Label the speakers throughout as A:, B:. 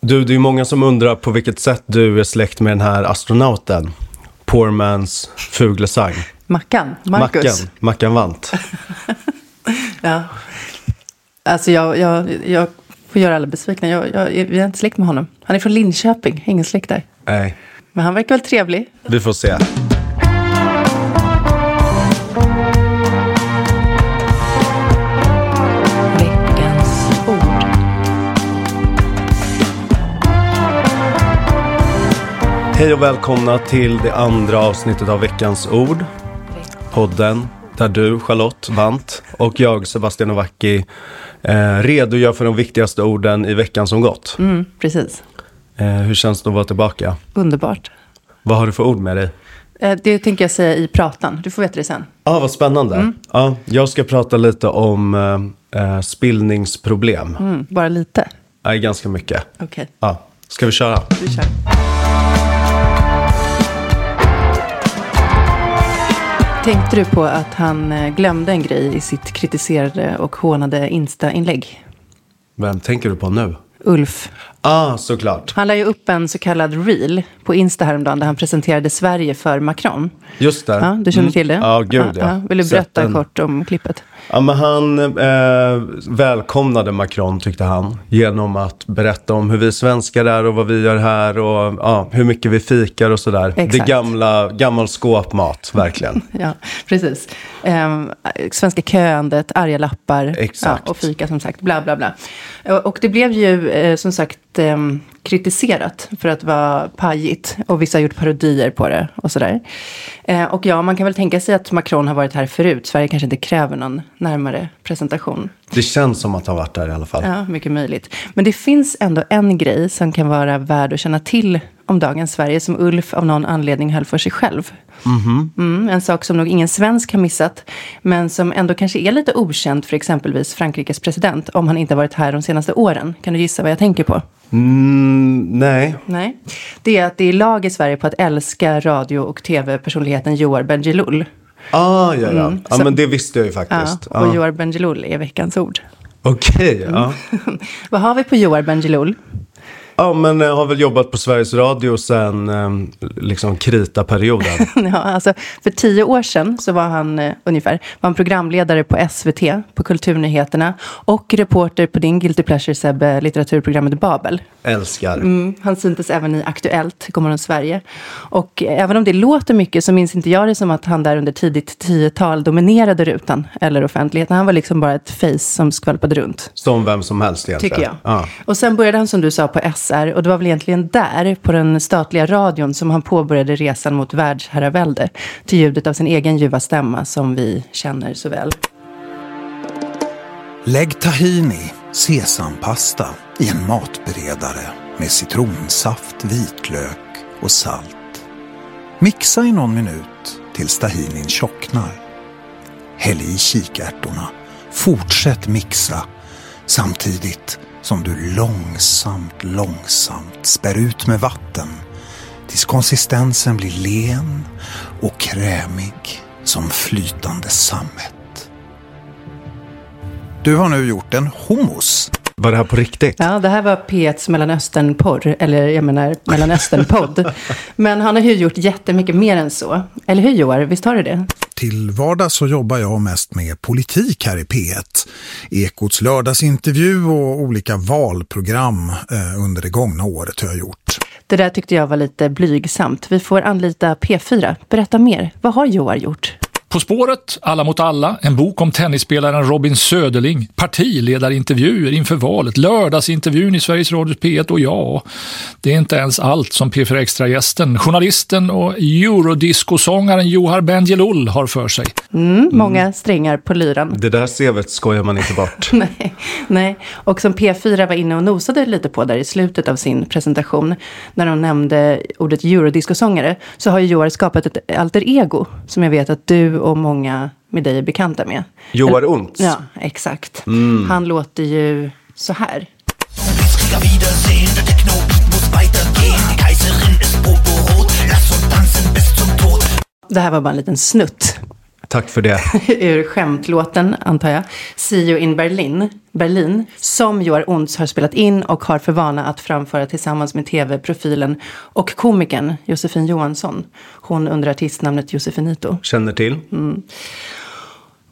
A: Du, det är ju många som undrar på vilket sätt du är släkt med den här astronauten. Poor man's Fuglesang.
B: Mackan, Marcus.
A: Mackan, Mackan Vant.
B: Ja. Alltså jag, jag, jag får göra alla besvikna. Jag, jag, jag är inte släkt med honom. Han är från Linköping, ingen släkt där.
A: Nej,
B: Men han verkar väl trevlig.
A: vi får se.
C: Veckans ord.
A: Hej och välkomna till det andra avsnittet av Veckans Ord. Podden där du, Charlotte Vant och jag, Sebastian Novacki, eh, redogör för de viktigaste orden i veckan som gått.
B: Mm, precis.
A: Eh, hur känns det att vara tillbaka?
B: Underbart.
A: Vad har du för ord med dig?
B: Eh, Det tänker jag säga i pratan. Du får veta det sen.
A: Ja, ah, vad spännande.
B: Mm.
A: Ja, jag ska prata lite om eh, eh, spillningsproblem.
B: Mm, bara lite.
A: Nej, ganska mycket.
B: Okej,
A: Ja, ska vi köra?
B: vi kör. Tänkte du på att han eh, glömde en grej i sitt kritiserade och hånade Insta-inlägg?
A: Vem tänker du på nu?
B: Ulf.
A: Ah, såklart.
B: Han la ju upp en så kallad reel på Insta häromdagen där han presenterade Sverige för Macron.
A: Just det.
B: Ja, du känner till det?
A: Mm. Ja, gud ja.
B: Vill du
A: Sett
B: berätta
A: den.
B: kort om klippet?
A: Ja, men han eh, välkomnade Macron, tyckte han, genom att berätta om hur vi svenskar är och vad vi gör här och ja, hur mycket vi fikar och sådär.
B: Exakt.
A: Det gamla, gammal skåpmat, verkligen.
B: Ja, precis. Ehm, svenska köandet, arga lappar
A: Exakt.
B: Ja, och fika som sagt, bla bla bla. Och- Och det blev ju eh, som sagt ehm, kritiserat för att vara pajigt och vissa har gjort parodier på det och sådär. Eh, och ja, man kan väl tänka sig att Macron har varit här förut. Sverige kanske inte kräver någon närmare presentation.
A: Det känns som att han varit där i alla fall.
B: Ja, mycket möjligt. Men det finns ändå en grej som kan vara värd att känna till om dagens Sverige som Ulf av någon anledning höll för sig själv. Mm, en sak som nog ingen svensk har missat, men som ändå kanske är lite okänd för exempelvis Frankrikes president om han inte har varit här de senaste åren. Kan du gissa vad jag tänker på?
A: Mm, nej.
B: Nej. Det är att det är lag i Sverige på att älska radio och tv-personligheten Johar Bendjelloul.
A: Ah, ja, ja. ja
B: Mm, så-
A: men det visste jag ju
B: Ja,
A: faktiskt.
B: och
A: Ja.
B: Johar Bendjelloul är veckans ord.
A: Okej, ja.
B: vad har vi på Johar Bendjelloul?
A: Ja, men jag har väl jobbat på Sveriges Radio sen eh, liksom krita-perioden.
B: Ja, alltså, för tio år sedan så var han eh, ungefär var han programledare på SVT, på Kulturnyheterna och reporter på din Guilty Pleasure, Sebbe, litteraturprogrammet Babel.
A: Älskar.
B: Mm, han syntes även i Aktuellt, Gomorron Sverige. Och eh, även om det låter mycket så minns inte jag det som att han där under tidigt 10-tal dominerade rutan eller offentligheten. Han var liksom bara ett face som skvalpade runt.
A: Som vem som helst egentligen.
B: Tycker jag.
A: Ja.
B: Och sen började han som du sa på SR och det var väl egentligen där, på den statliga radion, som han påbörjade resan mot världsherravälde. Till ljudet av sin egen ljuva stämma som vi känner så väl.
D: Lägg tahini, sesampasta i en matberedare med citronsaft, vitlök och salt. Mixa i någon minut tills tahinin tjocknar. Häll i kikärtorna. Fortsätt mixa samtidigt som du långsamt, långsamt spär ut med vatten tills konsistensen blir len och krämig som flytande sammet. Du har nu gjort en hummus.
A: Var det här på riktigt?
B: Ja, det här var P1s Mellanösternporr, eller jag menar Mellanösternpodd. Men han har ju gjort jättemycket mer än så. Eller hur Joar, visst har du det?
D: Till vardags så jobbar jag mest med politik här i P1. Ekots lördagsintervju och olika valprogram eh, under det gångna året har jag gjort.
B: Det där tyckte jag var lite blygsamt. Vi får anlita P4. Berätta mer. Vad har Joar gjort?
E: På spåret, Alla mot alla, en bok om tennisspelaren Robin Söderling, partiledarintervjuer inför valet, lördagsintervjun i Sveriges Radio P1 och ja, det är inte ens allt som P4 Extra-gästen, journalisten och eurodiscosångaren Johar Bendjelloul har för sig.
B: Mm, många strängar på lyran.
A: Det där CVt skojar man inte bort.
B: Nej, nej, och som P4 var inne och nosade lite på där i slutet av sin presentation, när de nämnde ordet eurodiscosångare, så har ju Joar skapat ett alter ego som jag vet att du och många med dig är bekanta med.
A: Joar Unts.
B: Ja, exakt. Han låter ju så här.
F: Blitzkrieger wiedersehen, der Techno-Beat muss weitergehen. Die Kaiserin ist bobo-rot, lass uns tanzen bis zum Tod.
B: Det här var bara en liten snutt.
A: Tack för det.
B: ur skämtlåten, antar jag, See you in Berlin, Berlin som Joar Onds har spelat in och har för vana att framföra tillsammans med tv-profilen och komikern Josefin Johansson. Hon under artistnamnet Josefinito.
A: Känner till.
B: Mm.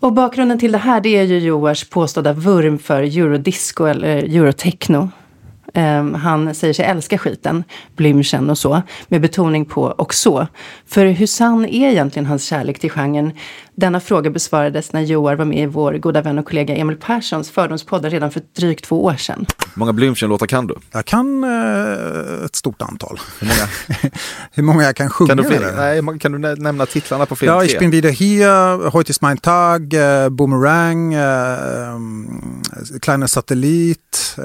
B: Och bakgrunden till det här det är ju Joars påstådda vurm för eurodisco eller eurotechno. Ehm, han säger sig älska skiten, blymchen och så, med betoning på och så. För hur sann är egentligen hans kärlek till genren? Denna fråga besvarades när Joar var med i vår goda vän och kollega Emil Perssons fördomspoddar redan för drygt två år sedan.
G: många Blümchen-låtar kan du?
D: Jag kan eh, ett stort antal.
G: Hur många?
D: Hur många jag kan sjunga?
G: Kan du, fler?
D: eller?
G: Nej, man- kan du nä- nämna titlarna på fler
D: Ja,
G: än
D: ich
G: tre?
D: bin wieder hier, heute ist mein Tag, eh, Boomerang, eh, mm, Kleiner Satellit. Eh,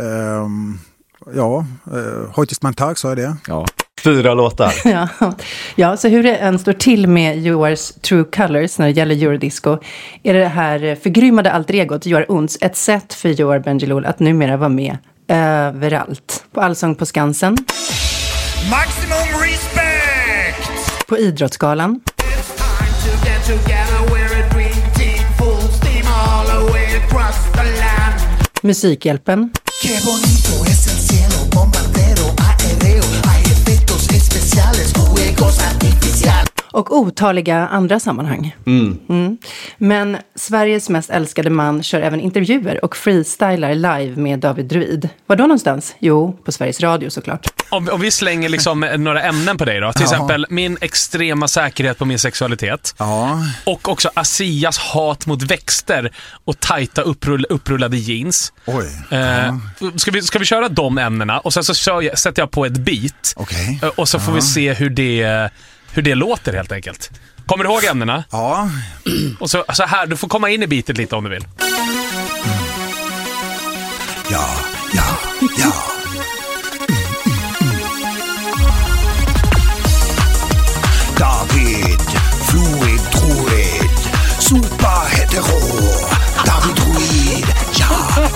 D: ja, eh, heute ist mein Tag, sa jag det?
G: Ja.
A: Fyra låtar.
B: Ja. ja, så hur det än står till med Joars True Colors när det gäller eurodisco är det här förgrymmade alter egot Joar Unds ett sätt för Joar Bendjelloul att numera vara med överallt. På Allsång på Skansen,
F: Maximum respect!
B: på Idrottsgalan,
F: It's time to get together, we're a dream team, full steam all the way across the land.
B: Musikhjälpen,
H: Qué bonito es el cielo, bombardero, aéreo, hay efectos especiales, juegos artificiales.
B: och otaliga andra sammanhang. Mm. Men Sveriges mest älskade man kör även intervjuer och freestylar live med David Druid. Var då någonstans? Jo, på Sveriges Radio såklart.
I: Om, om vi slänger liksom några ämnen på dig då. Till exempel min extrema säkerhet på min sexualitet.
D: Ja,
I: Och också Asias hat mot växter och tajta upprull, upprullade jeans.
D: oj,
I: Eh, ska, vi, ska vi köra de ämnena och sen så kör jag, sätter jag på ett beat.
D: okej.
I: Eh, Och så får vi se hur det, hur det låter helt enkelt. Kommer du ihåg ämnena?
D: Ja,
I: Och så, så här, du får komma in i bitet lite om du vill.
D: ja, ja, ja.
H: David, fluid, druid, super hetero. David Ruid, ja,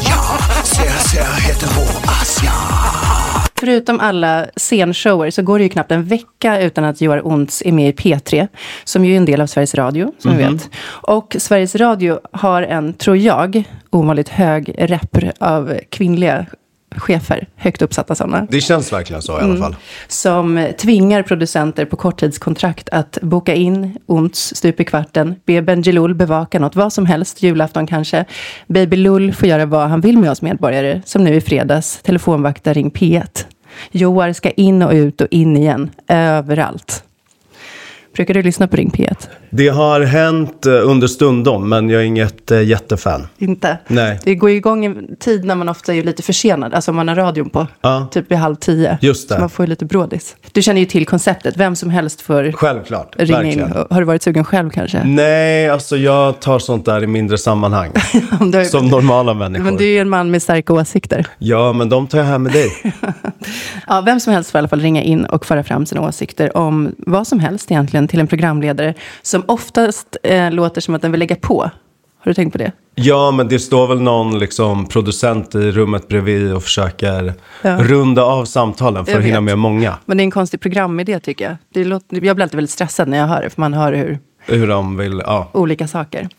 H: ja, sehr, sehr hetero, Asia.
B: Förutom alla scenshower så går det ju knappt en vecka utan att Joar Onts är med i P3, som ju är en del av Sveriges Radio, som vi vet. Och Sveriges Radio har en, tror jag, ovanligt hög reper av kvinnliga chefer, högt uppsatta sådana,
A: Det känns verkligen så i
B: Mm.
A: alla fall.
B: som tvingar producenter på korttidskontrakt att boka in Onts stup i kvarten, be Bendjelloul bevaka något, vad som helst, julafton kanske. Baby Lull får göra vad han vill med oss medborgare, som nu i fredags, telefonvaktar Ring P1. Joar ska in och ut och in igen, överallt. Brukar du lyssna på Ring P1?
A: Det har hänt eh, understundom, men jag är inget eh, jättefan.
B: Inte?
A: Nej.
B: Det går ju igång en tid när man ofta är lite försenad, alltså om man har radion på,
A: Ja.
B: typ vid halv tio.
A: Just det.
B: Så man får ju lite brådis. Du känner ju till konceptet, vem som helst får
A: Självklart.
B: ringa in.
A: verkligen.
B: Har du varit sugen själv kanske?
A: Nej, alltså jag tar sånt där i mindre sammanhang.
B: Om du har-
A: som normala människor.
B: men du är ju en man med starka åsikter.
A: Ja, men de tar jag hem med dig.
B: Ja, vem som helst får i alla fall ringa in och föra fram sina åsikter om vad som helst egentligen till en programledare som oftast eh, låter som att den vill lägga på. Har du tänkt på det?
A: Ja, men det står väl någon liksom, producent i rummet bredvid och försöker
B: Ja.
A: runda av samtalen för
B: Jag
A: att hinna
B: vet.
A: med många.
B: Men det är en konstig programidé tycker jag. Det låter, jag blir alltid väldigt stressad när jag hör det, för man hör hur
A: Hur de vill, ja.
B: olika saker.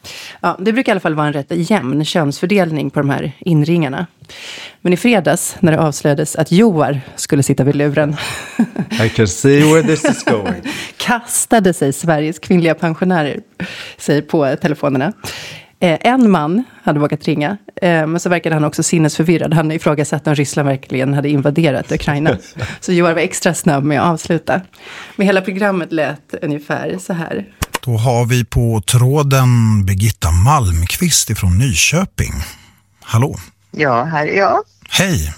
B: Ja, det brukar i alla fall vara en rätt jämn könsfördelning på de här inringarna. Men i fredags, när det avslöjades att Joar skulle sitta vid luren,
A: I can see where this is going.
B: kastade sig Sveriges kvinnliga pensionärer sig på telefonerna. Eh, en man hade vågat ringa, eh, men så verkade han också sinnesförvirrad. Han ifrågasatte om Ryssland verkligen hade invaderat Ukraina. Så Joar var extra snabb med att avsluta. Men hela programmet lät ungefär så här.
D: Då har vi på tråden Birgitta Malmqvist ifrån Nyköping. Hallå.
J: Ja, här är jag.
D: Hej.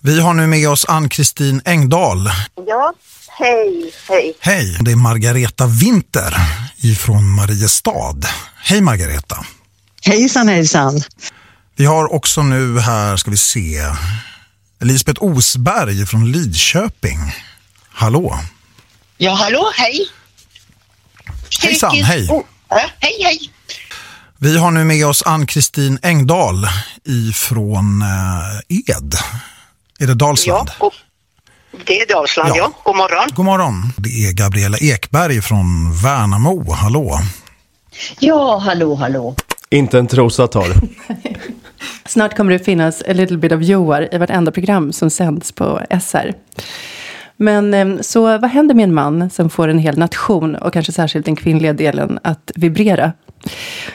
D: Vi har nu med oss Ann-Kristin Engdahl.
J: Ja, hej, hej.
D: Hej. Det är Margareta Winter ifrån Mariestad. Hej Margareta.
J: Hejsan, hejsan.
D: Vi har också nu här, ska vi se, Lisbeth Osberg från Lidköping. Hallå.
H: Ja, hallå, hej.
D: Hejsan, hej.
H: Oh, ja, hej, hej.
D: Vi har nu med oss Ann-Kristin Engdahl ifrån eh, Ed. Är det
H: Ja,
D: Dalsland?
H: och, det är Dalsland,
D: Ja.
H: ja. God morgon.
D: God morgon. Det är Gabriella Ekberg från Värnamo. Hallå.
J: Ja, hallå, hallå.
A: Inte en trosa tar.
B: Snart kommer det finnas a little bit of Joar i vartenda program som sänds på SR. Men eh, så vad händer med en man som får en hel nation och kanske särskilt den kvinnliga delen att vibrera?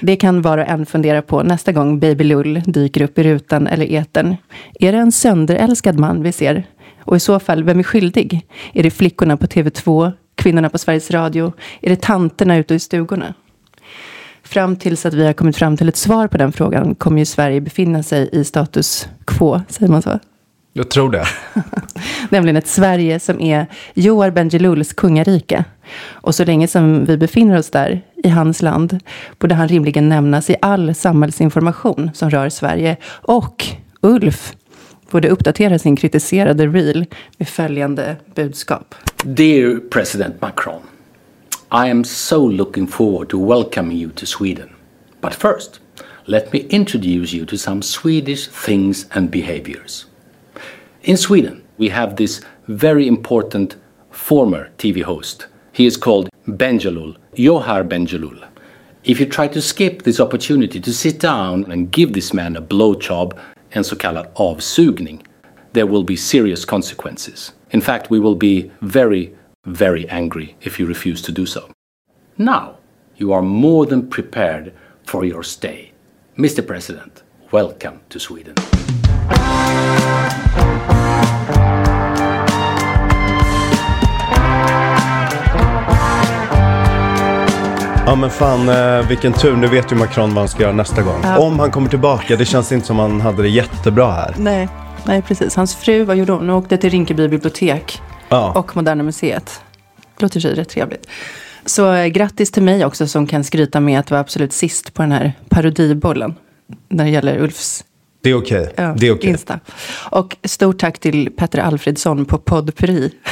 B: Det kan var och en fundera på nästa gång Baby Lull dyker upp i rutan eller etern. Är det en sönderälskad man vi ser? Och i så fall, vem är skyldig? Är det flickorna på TV2? Kvinnorna på Sveriges Radio? Är det tanterna ute i stugorna? Fram tills att vi har kommit fram till ett svar på den frågan kommer ju Sverige befinna sig i status quo, säger man så?
A: Jag tror det.
B: Nämligen ett Sverige som är Johar Bendjeluls kungarike. Och så länge som vi befinner oss där, i hans land, borde han rimligen nämnas i all samhällsinformation som rör Sverige. Och Ulf borde uppdatera sin kritiserade reel med följande budskap.
K: Dear President Macron, I am so looking forward to welcoming you to Sweden. But first, let me introduce you to some Swedish things and behaviors. In Sweden, we have this very important former TV host. He is called Benjelul, Johar Benjelul. If you try to skip this opportunity to sit down and give this man a blowjob, en så kallad avsugning, there will be serious consequences. In fact, we will be very, very angry if you refuse to do so. Now, you are more than prepared for your stay. Mr. President, welcome to Sweden.
A: Ja men fan eh, vilken tur, nu vet ju Macron vad han ska göra nästa gång.
B: Ja.
A: Om han kommer tillbaka, det känns inte som han hade det jättebra här.
B: Nej, nej precis. Hans fru, vad gjorde hon? Hon åkte till Rinkeby bibliotek
A: Ja.
B: och Moderna Museet. Det låter i och för sig rätt trevligt. Så eh, grattis till mig också som kan skryta med att vara absolut sist på den här parodibollen. När det gäller Ulfs
A: Det är okej,
B: ja,
A: det är okej.
B: Insta. Och stort tack till Petter Alfredsson på Podpri.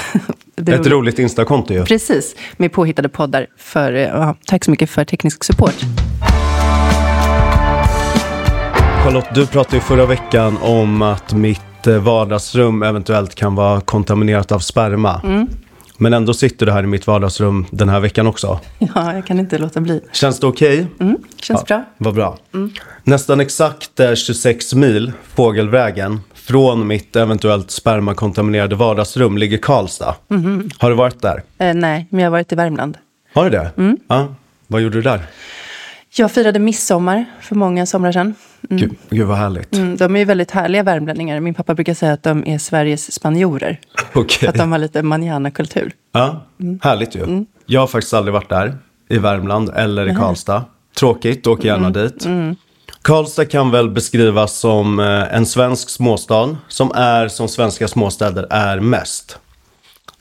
B: Det
A: Ett roligt instakonto ju.
B: Precis, med påhittade poddar. För, eh, ja, tack så mycket för teknisk support.
A: Charlotte, du pratade ju förra veckan om att mitt eh, vardagsrum eventuellt kan vara kontaminerat av sperma.
B: Mm.
A: Men ändå sitter du här i mitt vardagsrum den här veckan också.
B: Ja, jag kan inte låta bli.
A: Känns det okej?
B: Mm, känns bra. Mm.
A: Vad bra. Nästan exakt eh, 26 mil fågelvägen från mitt eventuellt spermakontaminerade vardagsrum ligger Karlstad.
B: Mhm.
A: Har du varit där?
B: Eh, nej, men jag har varit i Värmland.
A: Har du det?
B: Mm.
A: Ja. Vad gjorde du där?
B: Jag firade midsommar för många somrar sedan. Mm.
A: Gud, gud vad härligt.
B: Mm, de är ju väldigt härliga värmlänningar. Min pappa brukar säga att de är Sveriges spanjorer.
A: Okej.
B: Att de har lite manana-kultur.
A: Ja, härligt ju. Jag har faktiskt aldrig varit där, i Värmland eller i
B: Nej.
A: Karlstad. Tråkigt, åker gärna dit.
B: Mm.
A: Karlstad kan väl beskrivas som eh, en svensk småstad som är som svenska småstäder är mest.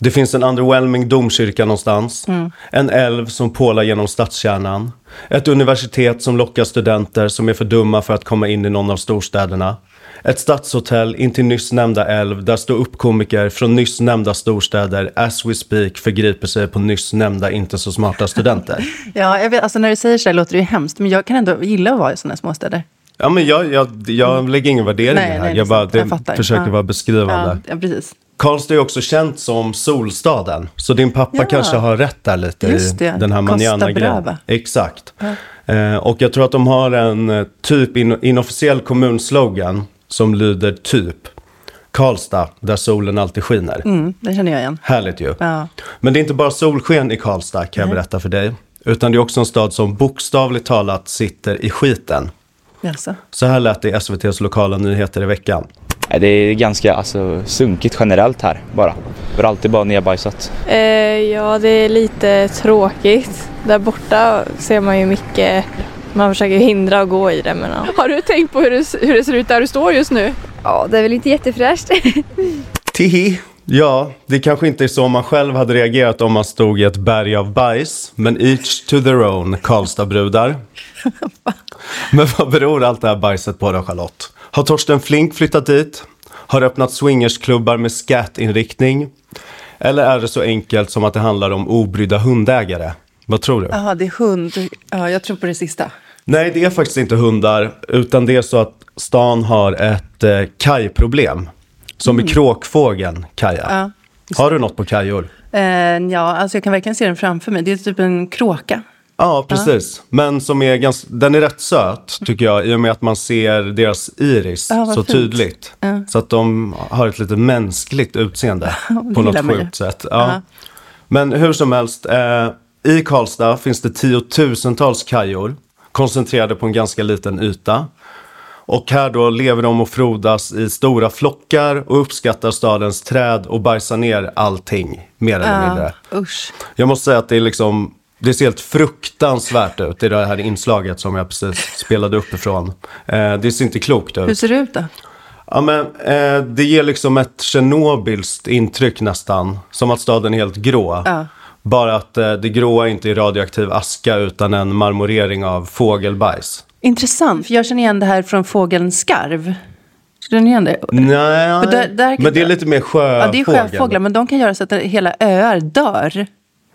A: Det finns en underwhelming domkyrka någonstans,
L: Mm.
A: en älv som pålar genom stadskärnan, ett universitet som lockar studenter som är för dumma för att komma in i någon av storstäderna, ett stadshotell intill nyss nämnda älv där ståuppkomiker från nyss nämnda storstäder as we speak förgriper sig på nyss nämnda inte så smarta studenter.
B: Ja, jag vet, alltså när du säger så här låter det ju hemskt, men jag kan ändå gilla att vara i sådana här småstäder.
A: Ja, men jag, jag, jag lägger ingen värdering
B: Nej,
A: i det här.
B: nej, det är
A: jag bara
B: sant. Jag
A: det,
B: fattar.
A: försöker
B: Ja.
A: vara beskrivande.
B: Ja, ja, precis.
A: Karlstad är också känt som solstaden. Så din pappa
B: Ja.
A: kanske har rätt där lite i
B: Just det.
A: den här
B: Costa
A: manana-grejen.
B: Brava.
A: Exakt.
B: Ja.
A: Eh, och jag tror att de har en eh, typ in, inofficiell kommunslogan som lyder typ Karlstad, där solen alltid skiner.
B: Mm, det känner jag igen.
A: Härligt ju.
B: Ja.
A: Men det är inte bara solsken i Karlstad kan jag berätta för dig. Utan det är också en stad som bokstavligt talat sitter i skiten.
B: Alltså.
A: Så här lät det i SVTs lokala nyheter i veckan.
M: Nej, Det är ganska alltså, sunkigt generellt här bara. Vi har alltid bara nedbajsat.
N: Eh, ja, det är lite tråkigt. Där borta ser man ju mycket. Man försöker hindra att gå i det men ja.
O: Har du tänkt på hur det, hur det ser ut där du står just nu? Ja, det är väl inte jättefräscht.
A: Tihi. Ja, det kanske inte är så man själv hade reagerat om man stod i ett berg av bajs. Men each to their own, Karlstadbrudar. men vad beror allt det här bajset på då, Charlotte? Har Torsten Flink flyttat dit? Har öppnat swingersklubbar med scat-inriktning? Eller är det så enkelt som att det handlar om obrydda hundägare? Vad tror du?
B: Jaha, det är hund. Ja, jag tror på det sista.
A: Nej, det är faktiskt inte hundar, utan det är så att stan har ett eh, kajproblem. Som i
B: Mm.
A: kråkfågeln Kaja.
B: Ja.
A: Har du något på kajor?
B: Eh, ja, alltså jag kan verkligen se den framför mig. Det är typ en kråka
A: Ja, precis. Men som är ganska, den är rätt söt tycker jag i och med att man ser deras iris
B: Ja, vad
A: så
B: fint.
A: tydligt.
B: Ja.
A: Så att de har ett lite mänskligt utseende på
B: lilla
A: något
B: mig.
A: sjukt sätt.
B: Ja.
A: Ja. Men hur som helst, eh, i Karlstad finns det tiotusentals kajor koncentrerade på en ganska liten yta. Och här då lever de och frodas i stora flockar och uppskattar stadens träd och bajsar ner allting, mer eller mindre.
B: Usch.
A: Jag måste säga att det är liksom det ser helt fruktansvärt ut i det här inslaget som jag precis spelade uppifrån. Eh, det ser inte klokt
B: Hur
A: ut.
B: ser det ut då?
A: Ja, men, eh, det ger liksom ett Tjernobylskt intryck nästan. Som att staden är helt grå.
B: Ja.
A: Bara att eh, det gråa inte är radioaktiv aska utan en marmorering av fågelbajs.
B: Intressant, för jag känner igen det här från fågeln skarv. Känner ni igen det?
A: Nej,
B: Men Mm. där- där-
A: men det är lite mer sjöfågel.
B: Ja, det är sjöfåglar, men de kan göra så att hela öar dör.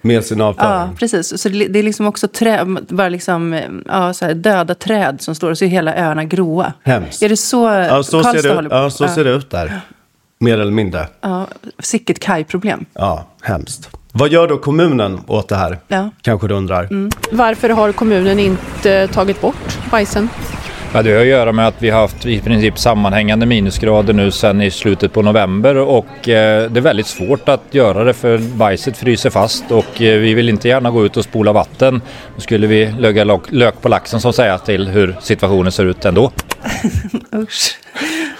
A: Med sin avföring.
B: Ja, precis. Så det det är liksom också trä, bara liksom, ja, så här, döda träd som står och så är hela öarna gråa.
A: Hemskt.
B: Är det så
A: Ja, så, ser
B: Karlstad
A: det,
B: håller på?
A: ja, så ser det ut där. Mer eller mindre.
B: Ja, sicket kajproblem.
A: Ja, hemskt. Vad gör då kommunen åt det här?
O: Ja.
A: Kanske du undrar.
B: Mm.
O: Varför har kommunen inte tagit bort bajsen?
L: Ja, det har att göra med att vi har haft i princip sammanhängande minusgrader nu sedan i slutet på november och eh, det är väldigt svårt att göra det för bajset fryser fast och eh, vi vill inte gärna gå ut och spola vatten. Då skulle vi lägga lök- lök på laxen som säger till hur situationen ser ut ändå.
B: Usch.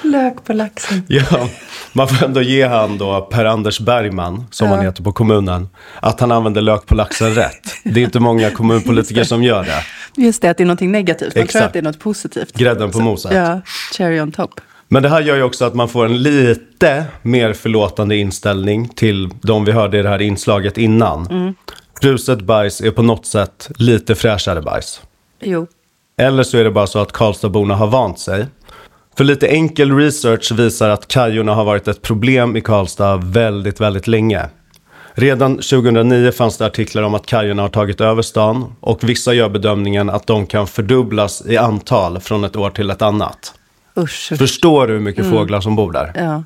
B: Lök på laxen.
A: Ja, man får ändå ge han då Per-Anders Bergman, som
B: Ja.
A: han heter på kommunen, att han använder lök på laxen rätt. Det är inte många kommunpolitiker som gör det.
B: Just det, att det är någonting negativt. Man tror
A: Exakt.
B: att det är något positivt.
A: Grädden på
B: Så-
A: moset.
B: Ja, cherry on top.
A: Men det här gör ju också att man får en lite mer förlåtande inställning till de vi hörde i det här inslaget innan.
B: Mm.
A: Fruset bajs är på något sätt lite fräschare bajs.
B: Jo.
A: Eller så är det bara så att Karlstadborna har vant sig. För lite enkel research visar att kajorna har varit ett problem i Karlstad väldigt, väldigt länge. Redan 2009 fanns det artiklar om att kajorna har tagit över stan och vissa gör bedömningen att de kan fördubblas i antal från ett år till ett annat.
B: Usch. usch.
A: Förstår du hur mycket
B: Mm.
A: fåglar som bor där?
B: Ja.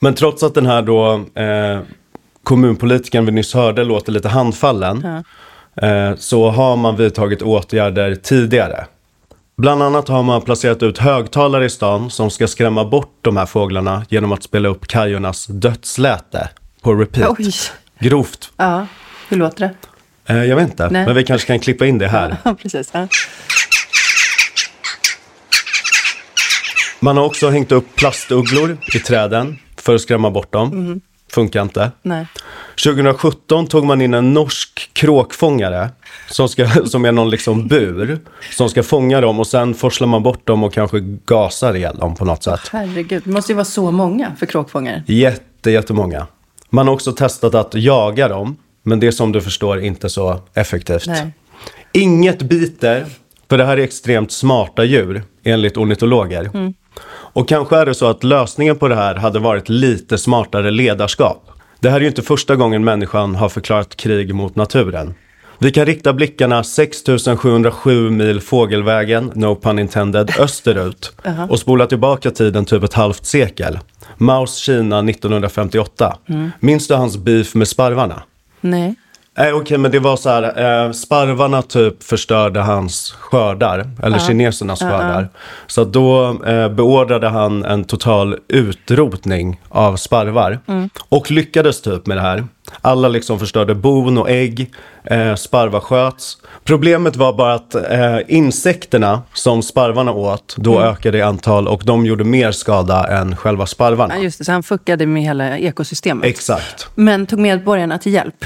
A: Men trots att den här då eh, kommunpolitiken vi nyss hörde låter lite handfallen
B: Ja.
A: eh, så har man vidtagit åtgärder tidigare. Bland annat har man placerat ut högtalare i stan som ska skrämma bort de här fåglarna genom att spela upp kajornas dödsläte på repeat.
B: Oj.
A: Grovt.
B: ja. Hur låter det?
A: Eh, jag vet inte,
B: Nej.
A: men vi kanske kan klippa in det här.
B: Ja, precis. Ja.
A: Man har också hängt upp plastugglor i träden för att skrämma bort dem.
B: Mm.
A: Funkar inte.
B: Nej.
A: 2017 tog man in en norsk kråkfångare som, ska, som är någon liksom bur som ska fånga dem och sen forslar man bort dem och kanske gasar ihjäl dem på något sätt.
B: Herregud, det måste ju vara så många för kråkfångare.
A: Jätte, jättemånga. Man har också testat att jaga dem, men det är som du förstår inte så effektivt.
B: Nej.
A: Inget biter, för det här är extremt smarta djur enligt ornitologer.
B: Mm.
A: Och kanske är det så att lösningen på det här hade varit lite smartare ledarskap. Det här är ju inte första gången människan har förklarat krig mot naturen. Vi kan rikta blickarna 6707 mil fågelvägen, no pun intended, österut
B: Jaha.
A: och spola tillbaka tiden typ ett halvt sekel. Maos Kina 1958.
B: Mm.
A: Minns du hans beef med sparvarna?
B: Nej.
A: Nej, okej, men det var så här. Eh, sparvarna typ förstörde hans skördar, eller
B: Ja.
A: kinesernas
B: Ja, ja.
A: skördar. Så att då eh, beordrade han en total utrotning av sparvar.
B: Mm.
A: Och lyckades typ med det här. Alla liksom förstörde bon och ägg, eh, sparvar sköts. Problemet var bara att eh, insekterna som sparvarna åt då
B: Mm.
A: ökade i antal och de gjorde mer skada än själva sparvarna.
B: Ja, just det, så han fuckade med hela ekosystemet.
A: Exakt.
B: Men tog medborgarna till hjälp.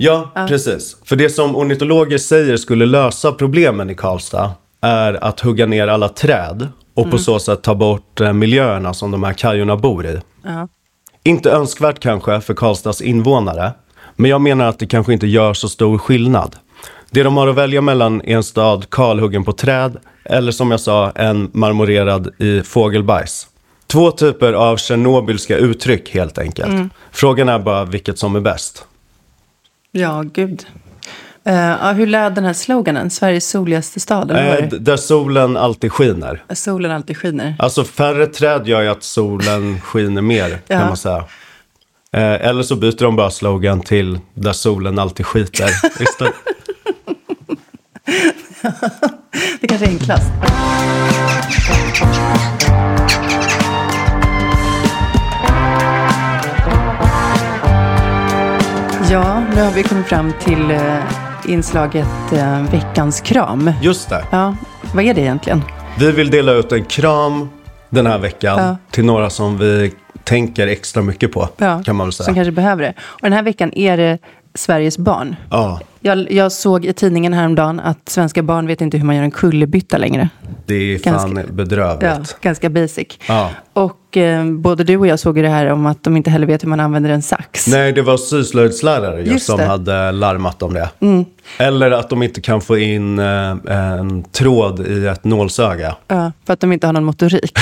A: Ja,
B: Ja.
A: precis. För det som ornitologer säger skulle lösa problemen i Karlstad är att hugga ner alla träd och på
B: Mm.
A: så sätt ta bort eh, miljöerna som de här kajorna bor i.
B: Ja.
A: Inte önskvärt kanske för Karlstads invånare, men jag menar att det kanske inte gör så stor skillnad. Det de har att välja mellan är en stad kalhuggen på träd eller som jag sa, en marmorerad i fågelbajs. Två typer av tjernobylska uttryck helt enkelt.
B: Mm.
A: Frågan är bara vilket som är bäst.
B: Ja, gud. Eh, ja, hur löd den här sloganen? Sveriges soligaste stad? eller vad var
A: Eh,
B: det?
A: d- där solen alltid skiner.
B: Solen alltid skiner.
A: Alltså färre träd gör ju att solen skiner mer
B: Ja.
A: kan man säga. Eh, eller så byter de bara slogan till där solen alltid skiter. istället.
B: Det kanske är enklast. Ja, nu har vi kommit fram till eh, inslaget eh, Veckans kram.
A: Just det.
B: Ja, vad är det egentligen?
A: Vi vill dela ut en kram den här veckan
B: Ja.
A: till några som vi tänker extra mycket på.
B: Ja,
A: Kan man väl säga.
B: Som kanske behöver det. Och den här veckan är det Sveriges barn.
A: Ja,
B: Jag, jag såg i tidningen häromdagen att svenska barn vet inte hur man gör en kullerbytta längre.
A: det är fan
B: Ganska- Ja,
A: bedrövligt.
B: ganska basic.
A: Ja.
B: Och eh, både du och jag såg ju det här om att de inte heller vet hur man använder en sax.
A: Nej, det var syslöjdslärare just
B: Just
A: som
B: det.
A: hade larmat om det.
B: Mm.
A: Eller att de inte kan få in eh, en tråd i ett nålsöga.
B: Ja, för att de inte har någon motorik.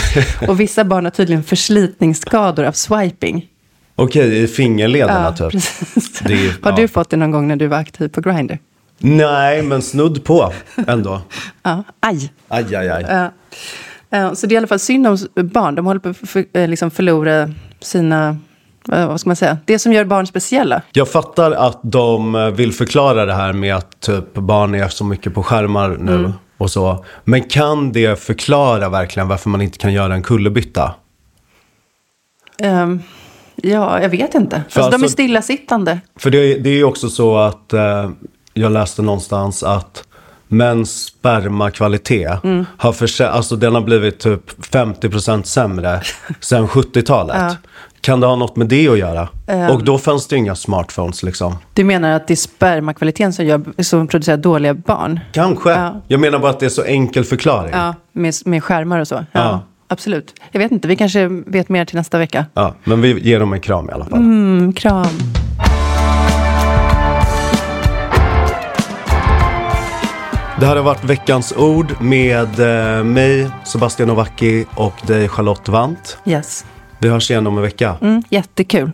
B: Och vissa barn har tydligen förslitningsskador av swiping.
A: Okej, i fingerlederna
B: Ja,
A: typ. Det är,
B: Har
A: ja.
B: du fått det någon gång när du var aktiv på Grindr?
A: Nej, men snudd på ändå.
B: Ja, aj.
A: Aj, aj, aj.
B: Ja. Eh, Så det är i alla fall synd om s- barn. De håller på att för- eh, liksom förlora sina, eh, vad ska man säga, det som gör barn speciella.
A: Jag fattar att de eh, vill förklara det här med att typ barn är så mycket på skärmar nu
B: Mm.
A: och så. Men kan det förklara verkligen varför man inte kan göra en kullerbytta?
B: Ehm, Ja, jag vet inte. Alltså, de är
A: alltså-
B: stillasittande.
A: För det, det är ju också så att eh, jag läste någonstans att mäns spermakvalitet
B: Mm.
A: har, försä- alltså, den har blivit typ 50% sämre sedan 70-talet.
B: Ja.
A: Kan det ha något med det att göra?
B: Ehm.
A: Och då fanns det ju inga smartphones liksom.
B: Du menar att det är spermakvaliteten som, gör, som producerar dåliga barn?
A: Kanske.
B: Ja.
A: Jag menar bara att det är så enkel förklaring.
B: Ja, med, med skärmar och så. Ja,
A: Ja.
B: Absolut. Jag vet inte, vi kanske vet mer till nästa vecka.
A: Ja, men vi ger dem en kram i alla fall.
B: Mm, kram.
A: Det här har varit veckans ord med eh, mig, Sebastian Novacki och dig Charlotte Vant.
B: Yes.
A: Vi hörs igen om en vecka.
B: Mm, jättekul.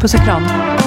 B: Puss och kram.